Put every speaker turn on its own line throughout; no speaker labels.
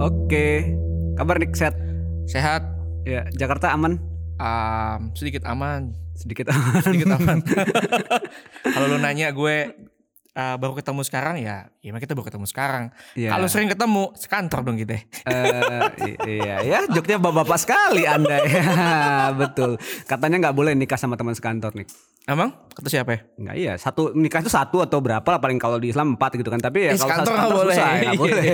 Oke. Kabar Nick sehat?
Sehat,
Ya, Jakarta aman?
um, sedikit aman,
Sedikit aman.
sedikit aman. Kalau lu nanya gue uh, baru ketemu sekarang ya, ya emang kita baru ketemu sekarang.
Iya.
Kalau sering ketemu sekantor dong kita.
Eh, i- iya ya, joknya bapak-bapak sekali Anda. Ya, betul. Katanya nggak boleh nikah sama teman sekantor nih.
Emang? Kata siapa ya?
Enggak iya, satu nikah itu satu atau berapa lah paling kalau di Islam empat gitu kan. Tapi ya
Eh,
kalau
sekantor nggak boleh.
susah, nggak boleh.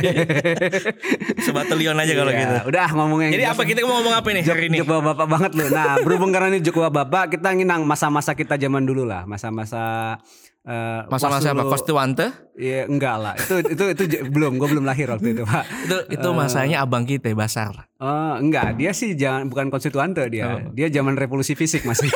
Sebatelion aja kalau
Iya,
gitu.
Udah ngomongnya.
Jadi apa kita mau ngomong apa nih
Jok,
hari ini?
jok bapak-bapak banget loh. Nah, berhubung karena ini jok bapak, kita nginang masa-masa kita zaman dulu lah, masa-masa eh,
Masa-masa
pas
apa?
dulu-
Konstituante?
Iya, enggak lah. Itu itu itu j- belum, gue belum lahir waktu itu, Pak.
Itu itu masanya abang kita Basar.
Eh, enggak, dia sih jangan bukan konstituante dia.
Oh.
Dia zaman revolusi fisik masih.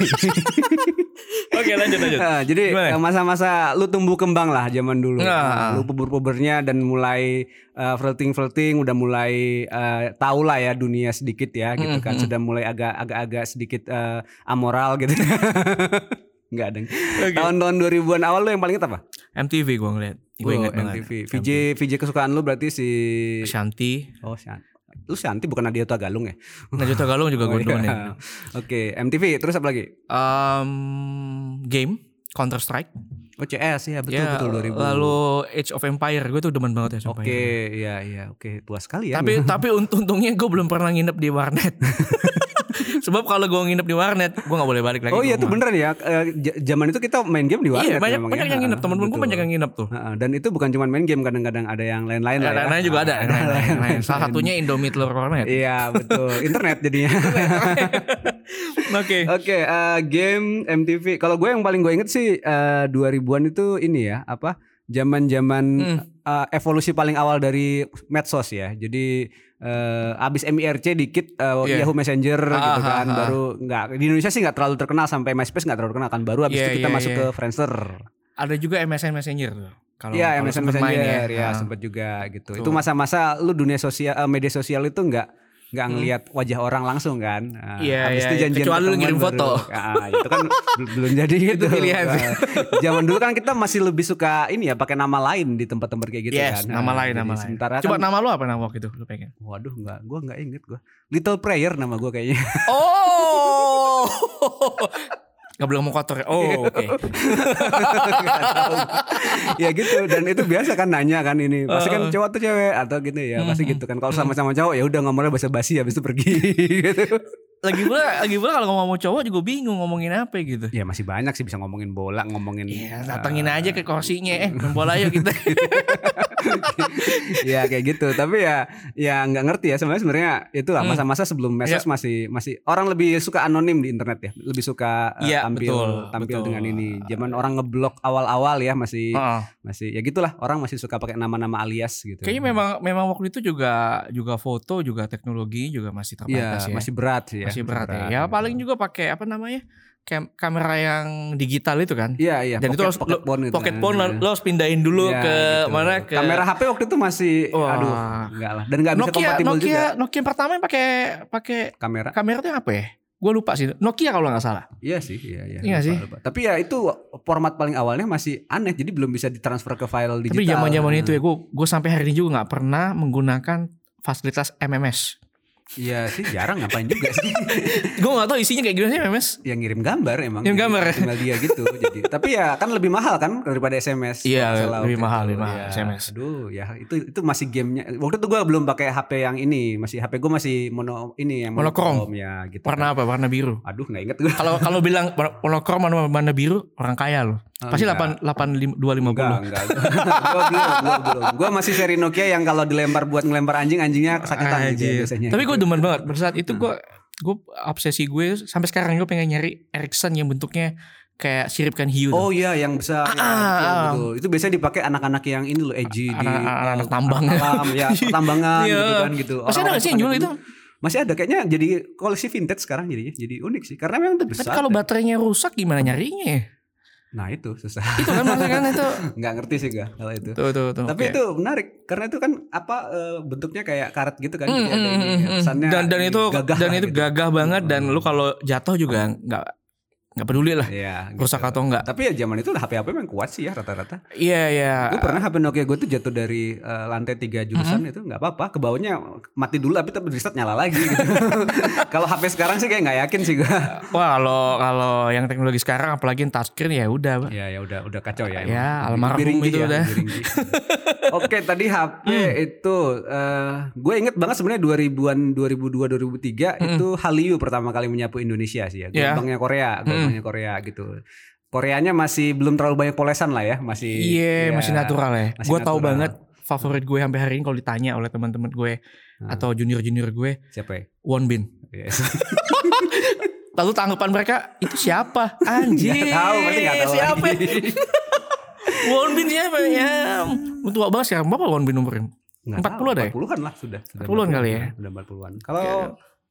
Oke, lanjut lanjut.
Eh, jadi
Gimana?
eh, masa-masa lu tumbuh kembang lah zaman dulu. Nah,
Nah.
lu puber-pubernya dan mulai eh, flirting-flirting udah mulai eh, tau lah ya dunia sedikit ya gitu kan. Sudah mulai agak agak-agak sedikit eh, amoral gitu. Enggak, Deng. Tahun-tahun 2000-an awal lu yang paling inget apa? Oh,
MTV gue ngeliat. Gue
Wow,
inget banget.
MTV. VJ VJ kesukaan lu berarti si
Shanti.
Oh, Shanti. Lu Shanti bukan Nadia Tagalung ya?
Najwa Tagalung juga gue
Iya.
demen ya.
Oke, MTV terus apa lagi?
Um, game Counter Strike.
Oh, CS ya, betul
Ya,
betul 2000.
Lalu Age of Empire, gue tuh demen banget Age of
Oke,
Empire.
iya iya, oke, tua sekali ya.
Tapi tapi unt- untungnya gue belum pernah nginep di warnet. Sebab kalau gue nginep di warnet, gue nggak boleh balik lagi.
Oh
ke
iya tuh
rumah.
beneran ya. Eh, j- zaman itu kita main game di warnet
Iya banyak
memang
banyak
ya.
yang nginep
Heeh,
temen-temen gue
betul. Iya,
banyak yang nginep tuh.
Heeh, dan itu bukan cuma main game kadang-kadang ada yang lain-lain lah.
Yang
ya.
lain-lain juga ada. yang lain-lain, yang lain. Salah satunya Indomie telur warnet.
Iya betul. Internet jadinya.
Oke.
Oke, eh, game MTV. Kalau gue yang paling gue inget sih eh, 2000-an itu ini ya, apa? Zaman-zaman
Hmm.
eh, evolusi paling awal dari medsos ya. Jadi eh, abis MIRC dikit eh,
Iya.
Yahoo Messenger gitu
Ah,
kan,
ah, ah.
baru nggak di Indonesia sih nggak terlalu terkenal sampai MySpace nggak terlalu terkenal kan. Baru abis
Iya,
itu kita
iya,
masuk
iya.
ke Friendster.
Ada juga MSN Messenger tuh. Kalau
Iya,
kalau
MSN
sempet main
Messenger ya,
Ah.
sempat juga gitu.
Tuh.
Itu masa-masa lu dunia sosial eh, media sosial itu nggak nggak ngelihat wajah orang langsung kan. Nah,
Hmm. Iya,
habis
iya,
itu
iya.
janjian
Kecuali lu
ketemuan
ngirim foto.
Ah, itu kan bel- belum jadi gitu.
pilihan sih.
Nah, zaman dulu kan kita masih lebih suka ini ya pakai nama lain di tempat-tempat kayak gitu
yes,
kan. Nah,
nama lain,
jadi
nama lain.
Sementara
Coba
kan,
nama lu apa nama waktu itu lu pengen?
waduh nggak, gua nggak inget gua. Little Prayer nama gua kayaknya.
Oh. Gak boleh ngomong kotor. ya? Oh, oke.
ya gitu dan itu biasa kan nanya kan ini pasti kan cowok atau cewek atau gitu ya pasti gitu kan kalau sama-sama cowok ya udah ngomongnya basa-basi habis itu pergi gitu
Lagi pula, lagi pula kalau ngomong cowok juga bingung ngomongin apa gitu.
Ya masih banyak sih bisa ngomongin bola, ngomongin eh,
Iya, datengin aja ke kursinya
Iya.
eh main bola yuk kita.
ya kayak gitu. Tapi ya ya nggak ngerti ya sebenarnya sebenarnya itu
Mm.
lah masa-masa
Ya.
sebelum medsos masih masih orang lebih suka anonim di internet ya. Lebih suka eh,
Iya,
tampil
betul,
tampil
betul.
dengan ini. Zaman orang ngeblok awal-awal ya masih
Heeh.
masih ya gitulah orang masih suka pakai nama-nama alias gitu.
Kayaknya memang memang waktu itu juga juga foto juga teknologi juga masih
Iya,
terbatas ya. Masih,
masih berat sih ya.
berat, ya. Ya paling juga pakai apa namanya? Kam kamera yang digital itu kan.
Iya, iya.
Dan itu harus
pocket phone gitu.
Pocket phone
Nah,
lo, lo harus pindahin dulu
iya,
ke
gitu.
mana ke
kamera HP waktu itu masih
Wah.
aduh enggak lah dan enggak bisa
Nokia
kompatibel
Nokia
juga
Nokia yang pertama yang pakai pakai
kamera
kamera itu yang apa ya? Gue lupa sih. Nokia kalau nggak salah.
Iya sih, iya iya.
Iya
Lupa,
sih.
lupa. Tapi ya itu format paling awalnya masih aneh, jadi belum bisa ditransfer ke file digital.
Tapi zaman zaman
Nah,
itu ya gue gue sampai hari ini juga nggak pernah menggunakan fasilitas MMS.
Iya sih, jarang ngapain juga sih.
gue nggak tahu isinya kayak gimana sih MMS.
Yang Ya, ngirim gambar emang.
Ngirim gambar.
Tinggal dia gitu. jadi. Tapi ya kan lebih mahal kan daripada SMS.
Iya,
Kalau salah
lebih
waktu
mahal,
itu.
lebih mahal
Iya.
SMS.
Aduh, ya itu itu masih gamenya. Waktu itu gue belum pakai HP yang ini, masih HP gue masih mono ini yang
Monokrom.
ya gitu.
Warna apa? Warna biru.
kan. Aduh, nggak inget gue.
Kalau kalau bilang war- monokrom warna, warna biru orang kaya loh. Pasti delapan delapan lim- dua
Oh,
lima
iya. Enggak,
puluh.
enggak. gue belum, gue belum. Gue masih seri Nokia yang kalau dilempar buat ngelempar anjing, anjingnya kesakitan gitu Hmm. ya,
Anjir.
biasanya.
Tapi gue demen banget. Pada saat itu gue gue obsesi gue sampai sekarang gue pengen nyari Ericsson yang bentuknya kayak siripkan hiu.
Oh iya yang besar
Ah,
ya, betul, betul. Itu biasanya dipakai anak-anak yang ini loh edgy di
Anak- anak- anak tambangan.
alam, ya, pertambangan
Iya.
gitu kan gitu.
Masih ada
Orang-orang
nggak sih yang
suka
jual
gitu.
itu?
Masih ada kayaknya jadi koleksi vintage sekarang jadinya. Jadi unik sih karena memang itu
Tapi
besar.
kalau baterainya rusak gimana nyarinya? ya?
Nah, itu susah.
Itu kan maksudnya kan itu.
Nggak ngerti sih gua kalau itu.
Tuh tuh
Gitu.
tuh.
Tapi
Oke.
itu menarik karena itu kan apa eh, bentuknya kayak karet gitu kan. jadi
Mm,
ada
mm,
ini,
mm,
ya,
mm.
pesannya
dan dan itu
gagah
dan
lah
itu
gitu.
gagah banget dan lu kalau jatuh juga nggak nggak peduli lah
Iya. gitu.
rusak atau enggak
Tapi ya zaman itu HP-HP memang kuat sih ya rata-rata.
iya iya
Gue pernah HP Nokia gue tuh jatuh dari eh, lantai tiga
Mm-hmm.
jurusan itu nggak apa-apa. Ke bawahnya mati dulu tapi tapi reset nyala lagi. Gitu. Kalau HP sekarang sih kayak nggak yakin sih gue.
wah kalau kalau yang teknologi sekarang apalagi yang touchscreen ya udah
Ya ya udah udah kacau ya.
Ya,
emang. ya,
almarhum
Biringgi
itu udah. Hmm.
biringgi. Oke tadi HP itu eh, gue inget banget sebenarnya 2000-an 2002 2003 itu Hallyu pertama kali menyapu Indonesia sih ya.
Hmm. Ya.
Gelombangnya Korea, gelombangnya Korea gitu. Koreanya masih belum terlalu banyak polesan lah ya, masih ya,
Iya, masih natural ya.
masih
Gue tahu
natural.
banget favorit gue sampai hari ini kalau ditanya oleh teman-teman gue
Hmm.
atau junior-junior gue,
Siapa ya?
Won Bin.
Yes.
Lalu tanggapan mereka itu siapa? Anjir.
Nggak tahu, pasti nggak tahu
siapa?
lagi.
Won Bin siapa ya? Tua banget sekarang. Berapa Won Bin umurnya?
Nggak
40 ada ya?
40-an lah sudah. Sudah
40-an kali ya?
Sudah 40-an. Kalau
Iya.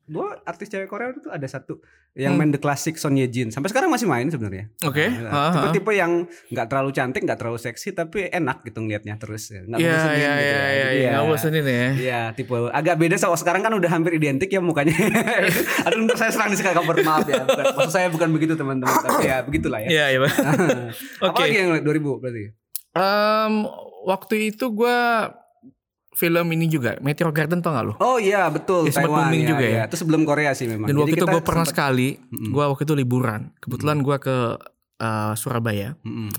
gue artis cewek Korea itu ada satu yang main The Classic Son Ye Jin. Sampai sekarang masih main sebenarnya.
Hmm. Oke. ah,
Nah,
ha, ha.
tipe-tipe yang nggak terlalu cantik, nggak terlalu seksi, tapi enak gitu ngelihatnya terus. ya. Nggak
Iya,
bosenin gitu
iya, iya,
ya.
iya,
Jadi
iya.
ya,
Nggak bosenin ya.
Iya, tipe agak beda sama sekarang kan udah hampir identik ya mukanya. Aduh, ntar saya serang di kabar maaf ya. Bukan- Maksud saya bukan begitu teman-teman, tapi ya begitulah ya.
Iya, iya. Bang.
Apalagi yang 2000 berarti.
Em, waktu itu gue film ini juga, Meteor Garden tau gak lo?
Oh iya, betul
Ya, sempat
Taiwan
booming
ya,
juga ya.
ya. Itu sebelum Korea sih memang.
Dan
Jadi
waktu itu
kita
gue pernah
sempat-
sekali,
Mm-mm.
gue waktu itu liburan. Kebetulan gue ke eh, Surabaya,
Mm-mm.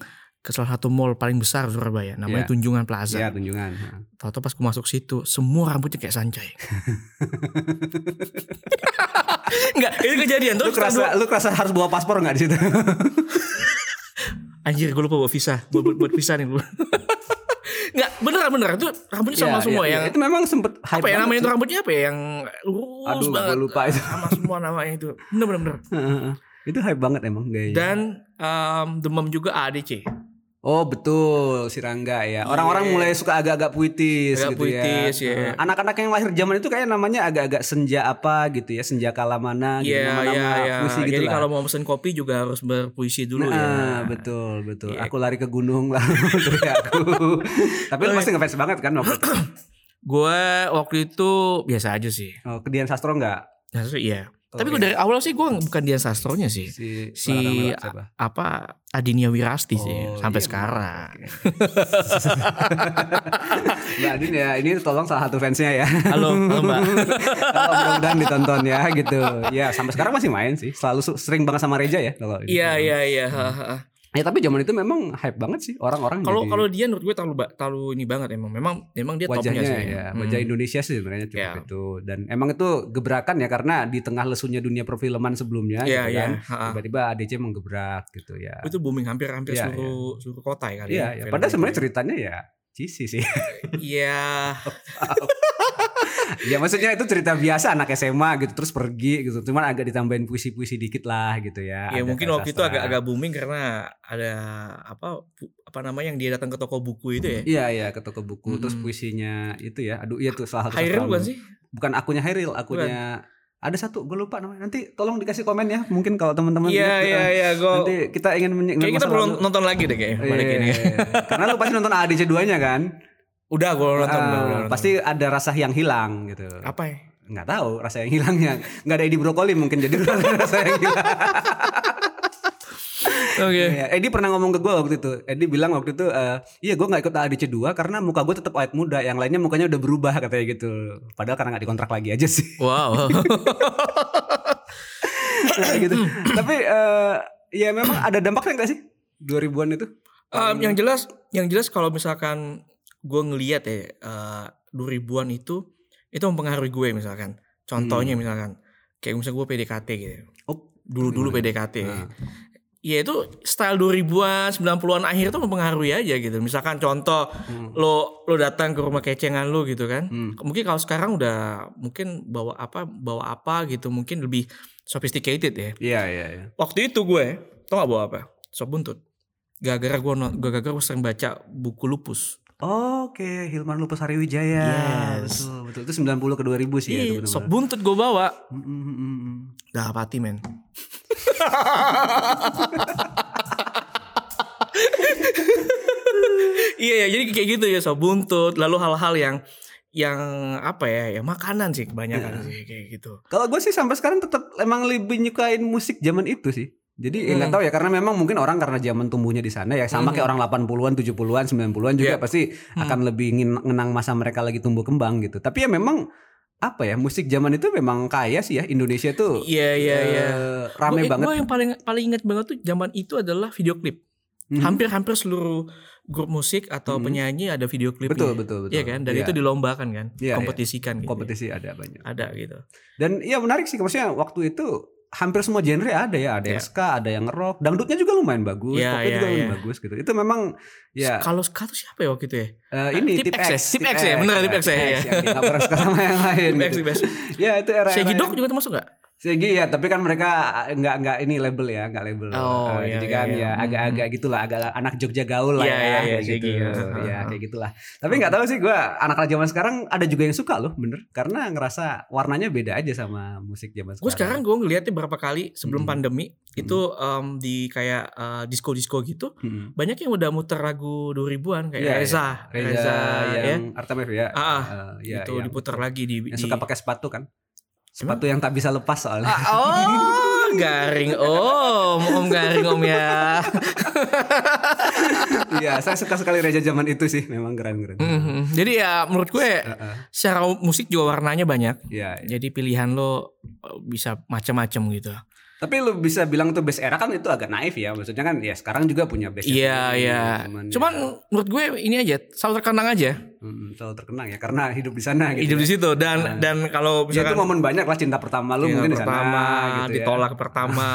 ke salah satu mall paling besar Surabaya, namanya
Iya.
Tunjungan Plaza.
Iya, tunjungan. Nah.
Tahu-tahu pas gue masuk situ, semua rambutnya kayak Sanjay. Enggak, itu kejadian
Lu
terus.
kerasa
kita dua-
lu kerasa harus bawa paspor nggak di situ?
Anjir, gue lupa bawa visa, buat buat, buat visa nih lu. Enggak, beneran beneran tuh rambutnya sama
Iya,
semua ya?
iya,
yang
iya. itu memang sempet hype
apa ya
banget
namanya itu
sih.
rambutnya apa ya yang lurus
Aduh, gua
banget
lupa Iya. itu.
sama semua namanya itu bener bener, bener.
Itu hype banget emang gayanya.
dan em, demam juga ADC
Oh betul si Rangga ya. Orang-orang mulai suka agak-agak puitis gitu
Agak puitis,
ya.
ya.
Anak-anak yang lahir zaman itu kayak namanya agak-agak senja apa gitu ya, senja kala mana gitu
Iya,
nama-nama
iya, iya.
puisi gitu
Jadi
lah.
kalau mau pesen kopi juga harus berpuisi dulu
Nah,
ya.
betul betul.
Iya.
Aku lari ke gunung lah dari aku. Tapi lu pasti ngefans banget kan waktu itu.
Gue waktu itu biasa aja sih.
Oh, ke Dian Sastro enggak?
Sastro iya.
Oh,
Tapi gue
iya.
dari awal sih gue bukan Dian Sastronya sih.
si
Si-
Barang Melak siapa?
Apa Adinia Wirasti sih
Oh,
sampai
iya,
sekarang.
oke. Mbak Adin ya, ini tolong salah satu fansnya ya.
Halo, halo Mbak.
Kalau mudah-mudahan ditonton ya gitu. Ya sampai sekarang masih main sih. Selalu su- sering banget sama Reja ya kalau ini.
Iya, iya, iya. ha, ha.
Ya tapi zaman itu memang hype banget sih orang-orang.
Kalau
jadi
kalau dia menurut gue terlalu ba- terlalu ini banget emang. Memang memang dia
wajahnya
topnya sih.
ya,
Hmm.
wajah Indonesia sih sebenarnya cukup
Iya.
itu. Dan emang itu gebrakan ya karena di tengah lesunya dunia perfilman sebelumnya
Iya,
gitu
iya.
kan.
ha, ha.
Tiba-tiba ADC menggebrak gitu ya.
Itu booming hampir-hampir
Iya,
seluruh seluruh kota ya kali.
Iya, ya.
film
padahal
itu
sebenarnya
ya.
ceritanya ya cheesy sih.
Iya.
Ya maksudnya itu cerita biasa anak SMA gitu terus pergi gitu. Cuman agak ditambahin puisi-puisi dikit lah gitu ya.
Ya
Ada
mungkin
kayak
waktu itu
sastra.
agak-agak booming karena ada apa apa namanya yang dia datang ke toko buku itu ya.
Iya iya ke toko buku terus
Mm-mm.
puisinya itu ya. Aduh iya tuh salah satu.
Hmm. Hairil
sastra
bukan
lu.
sih?
Bukan akunya Hairil, akunya ada satu gue lupa namanya. Nanti tolong dikasih komen ya mungkin kalau teman-teman
Iya
ingat,
iya iya
eh,
gue
Nanti kita ingin menye-
kayak kita
masa
perlu
lalu.
nonton lagi deh kayaknya balik
Iya,
ini.
iya, iya. Karena lu pasti nonton ADC 2-nya kan?
Udah gue nonton,
Ah,
udah, udah nonton.
pasti ada rasa yang hilang gitu.
apa ya?
nggak tahu rasa yang hilangnya nggak ada Edi Brokoli mungkin jadi rasa yang hilang
Oke.
Iya, Edi pernah ngomong ke gue waktu itu Edi bilang waktu itu eh, iya gue nggak ikut ADC 2 karena muka gue tetap awet muda yang lainnya mukanya udah berubah katanya gitu padahal karena nggak dikontrak lagi aja sih
Wow.
gitu tapi eh, ya memang ada dampaknya nggak sih 2000-an itu
Em, yang jelas yang jelas kalau misalkan gue ngelihat ya eh 2000-an itu itu mempengaruhi gue misalkan. Contohnya misalkan kayak misalnya gue PDKT gitu.
Hmm. Oh,
Dulu-dulu
gimana?
PDKT.
Ah.
Ya itu style 2000-an, 90-an akhir itu mempengaruhi aja gitu. Misalkan contoh lo lo datang ke rumah kecengan lo gitu kan.
Hmm.
Mungkin kalau sekarang udah mungkin bawa apa bawa apa gitu mungkin lebih sophisticated ya.
iya iya iya
Waktu itu gue tau gak bawa apa? Sop buntut. Gara-gara gue no- gara-gara gue sering baca buku lupus.
Oke, Hilman Lupus Hariwijaya.
Yes.
Betul, betul. Itu 90 ke 2000 sih ya itu
Iya,
benar-benar.
sop buntut gue bawa.
Mm, mm, mm, mm.
Gak apati men. Iya ya, jadi kayak gitu ya sop buntut. Lalu hal-hal yang yang apa ya? Ya makanan
Iya.
sih kebanyakan sih kayak gitu.
Kalau gue sih sampai sekarang tetap emang lebih nyukain musik zaman itu sih. Jadi ya nggak
Hmm.
tahu ya karena memang mungkin orang karena zaman tumbuhnya di sana ya sama kayak orang 80-an, 70-an, 90-an juga
Iya.
pasti akan lebih ngin- ngenang masa mereka lagi tumbuh kembang gitu. Tapi ya memang apa ya musik zaman itu memang kaya sih ya Indonesia tuh
Iya iya iya.
eh, rame banget.
Gue yang paling paling ingat banget tuh zaman itu adalah video klip.
Mhm.
Hampir-hampir seluruh grup musik atau
Mhm.
penyanyi ada video klipnya.
Betul, betul, betul.
Iya kan? Dan
Iya.
itu dilombakan kan,
Iya, iya.
kompetisikan gitu.
kompetisi ada banyak.
Ada gitu.
Dan ya menarik sih maksudnya waktu itu hampir semua genre ada ya, ada yang
Iya.
ska, ada yang rock, dangdutnya juga lumayan bagus,
Iya,
popnya
iya,
juga lumayan
iya.
bagus gitu. Itu memang ya
Kalau Ska tuh siapa ya waktu itu ya?
eh, ini
Tip
tip,
X ya?
X,
Tip X ya? Bener, Tip X ya, iya.
yang kita nggak pernah suka sama yang lain.
Tip X,
gitu.
Tip X.
Ya itu era.
Shaggy Dog juga termasuk gak?
Segi ya, tapi kan mereka nggak nggak ini label ya, nggak label.
Oh,
Eh,
iya,
jadi
iya,
kan
iya.
ya
Hmm.
agak-agak gitulah, agak anak Jogja gaul lah
Iya,
ya,
iya, iya,
kayak
Shaggy,
gitu.
ya.
Ya, kayak gitulah. Tapi nggak tahu sih gue anak zaman sekarang ada juga yang suka loh, bener. Karena ngerasa warnanya beda aja sama musik zaman sekarang.
Gue sekarang gue ngeliatnya berapa kali
Mhm.
sebelum pandemi itu
Mm-hmm.
em, di kayak eh, disco-disco gitu
Mm-mm.
banyak yang udah muter lagu 2000-an kayak
Iya,
Reza,
Reza,
ya.
yang Artamef ya.
Ah, ah,
Eh, ya,
gitu
yang-
diputer lagi di,
Yang
di-
suka pakai sepatu kan? Sepatu yang tak bisa lepas soalnya.
Ah, oh, garing om, om garing om ya.
Iya, saya suka sekali Reza zaman itu sih, memang keren-keren.
Mhm. Jadi ya menurut gue
Heeh,
secara musik juga warnanya banyak.
Iya. iya.
Jadi pilihan lo eh, bisa macam-macam gitu.
Tapi lu bisa bilang tuh base era kan itu agak naif ya. Maksudnya kan ya sekarang juga punya base gitu,
Iya, iya. Cuman menurut gue ini aja selalu terkenang
ya,
aja
mm, selalu terkenang ya karena hidup di sana gitu.
hidup di situ dan dan kalau
Ya, itu
misalkan
momen banyak lah cinta pertama lu
Iya,
mungkin di sana
pertama
gitu ya.
ditolak pertama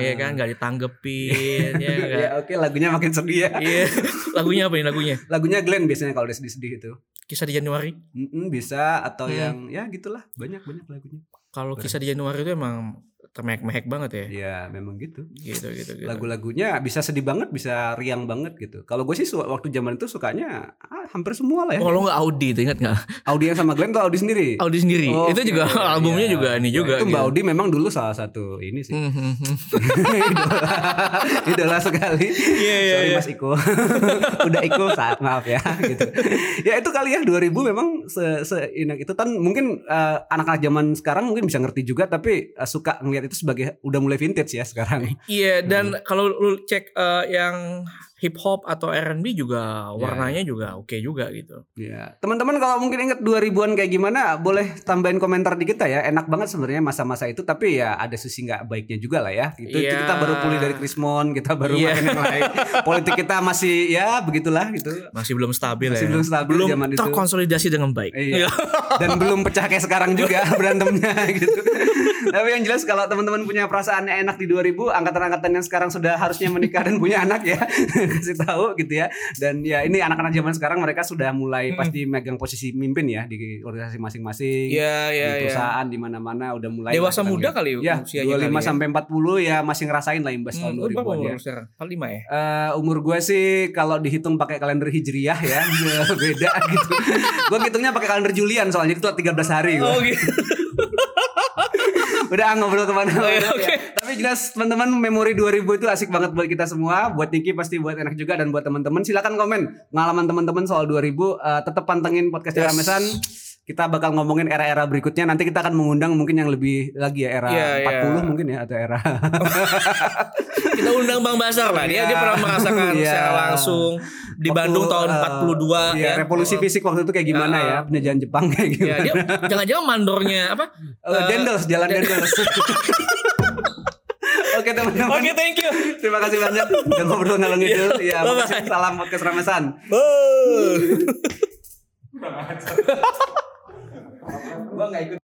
ya kan nggak ditanggepin ya
Ya,
nggak-
oke lagunya makin sedih ya.
Iya. lagunya apa nih lagunya?
Lagunya Glenn biasanya kalau udah sedih-sedih itu.
Kisah di Januari.
Mm-mm, bisa atau
Hmm.
yang ya gitulah banyak banyak lagunya.
Kalau kisah di Januari itu emang termehek-mehek banget ya.
Ya memang gitu.
Gitu gitu gitu.
Lagu-lagunya bisa sedih banget, bisa riang banget gitu. Kalau gue sih su- waktu zaman itu sukanya ah, hampir semua lah ya.
Oh, lo nggak Audi itu ingat nggak?
Audi yang sama Glenn tuh Audi sendiri.
Audi sendiri.
Oke,
itu juga
iya.
albumnya juga ini juga.
Itu Mbak
gitu.
Audi memang dulu salah satu ini sih.
Mhm.
idola, idola sekali.
Iya, iya,
Sorry
iya.
Mas Iko. Udah Iko saat maaf ya gitu. Ya itu kali ya 2000 memang se seinak itu kan mungkin eh, anak-anak zaman sekarang mungkin bisa ngerti juga tapi eh, suka ngelihat itu sebagai udah mulai vintage ya sekarang.
Iya dan
Hmm.
kalau lu cek eh, yang hip hop atau R&B
Iya,
juga warnanya juga oke juga gitu.
Ya, teman-teman kalau mungkin inget 2000-an kayak gimana, boleh tambahin komentar di kita ya. Enak banget sebenarnya masa-masa itu, tapi ya ada sisi nggak baiknya juga lah ya. Gitu.
Iya.
Kita baru pulih dari Krismon, kita baru
Iya.
main yang lain. Politik kita masih ya begitulah gitu.
Masih belum stabil
Masih
ya.
belum stabil
Iya. belum
zaman itu.
terkonsolidasi dengan baik.
Iya. Dan belum pecah kayak sekarang juga berantemnya gitu. Tapi yang jelas kalau teman-teman punya perasaan yang enak di 2000, angkatan-angkatan yang sekarang sudah harusnya menikah dan punya anak ya, kasih tahu gitu ya. Dan ya ini anak-anak zaman sekarang mereka sudah mulai
Mm-mm.
pasti megang posisi mimpin ya di organisasi masing-masing.
Iya iya
di
iya.
perusahaan di mana-mana udah mulai lah
Dewasa
kita
muda
lihat.
kali
ya
usianya
25
kali ya.
sampai 40 ya masih ngerasain lah imbas tahun
Hmm,
2000
lu berapa
an ya.
umur sekarang? Paling lima ya.
Eh, umur gue sih kalau dihitung pakai kalender hijriah ya beda gitu. gue ngitungnya pakai kalender Julian soalnya itu 13 hari gua.
gitu.
Udah ah, ngobrol kemana
Oh, iya,
mana
oke.
Tapi jelas teman-teman memori 2000 itu asik banget buat kita semua, buat Niki pasti buat enak juga dan buat teman-teman silakan komen pengalaman teman-teman soal 2000 Eh, tetap pantengin podcast
Yes.
Ramesan. Kita bakal ngomongin era-era berikutnya. Nanti kita akan mengundang mungkin yang lebih lagi ya era
Iya,
40
iya.
mungkin ya atau era.
Kita undang Bang Basar lah.
Iya.
Dia dia pernah merasakan
Iya.
secara langsung di
Waktu,
Bandung tahun
eh,
42
iya,
ya.
revolusi fisik waktu itu kayak gimana
Ya.
ya? Penjajahan Jepang kayak
Ya,
gimana?
dia jangan-jangan mandornya apa?
Eh, Dendels, jalan Dendels. Oke teman-teman,
Eh, Oke, thank you.
terima kasih banyak udah ngobrol ngalung ngidul. Ya,
Bye-bye.
makasih. salam podcast Ramesan.
Bye.
Gua nggak ikut.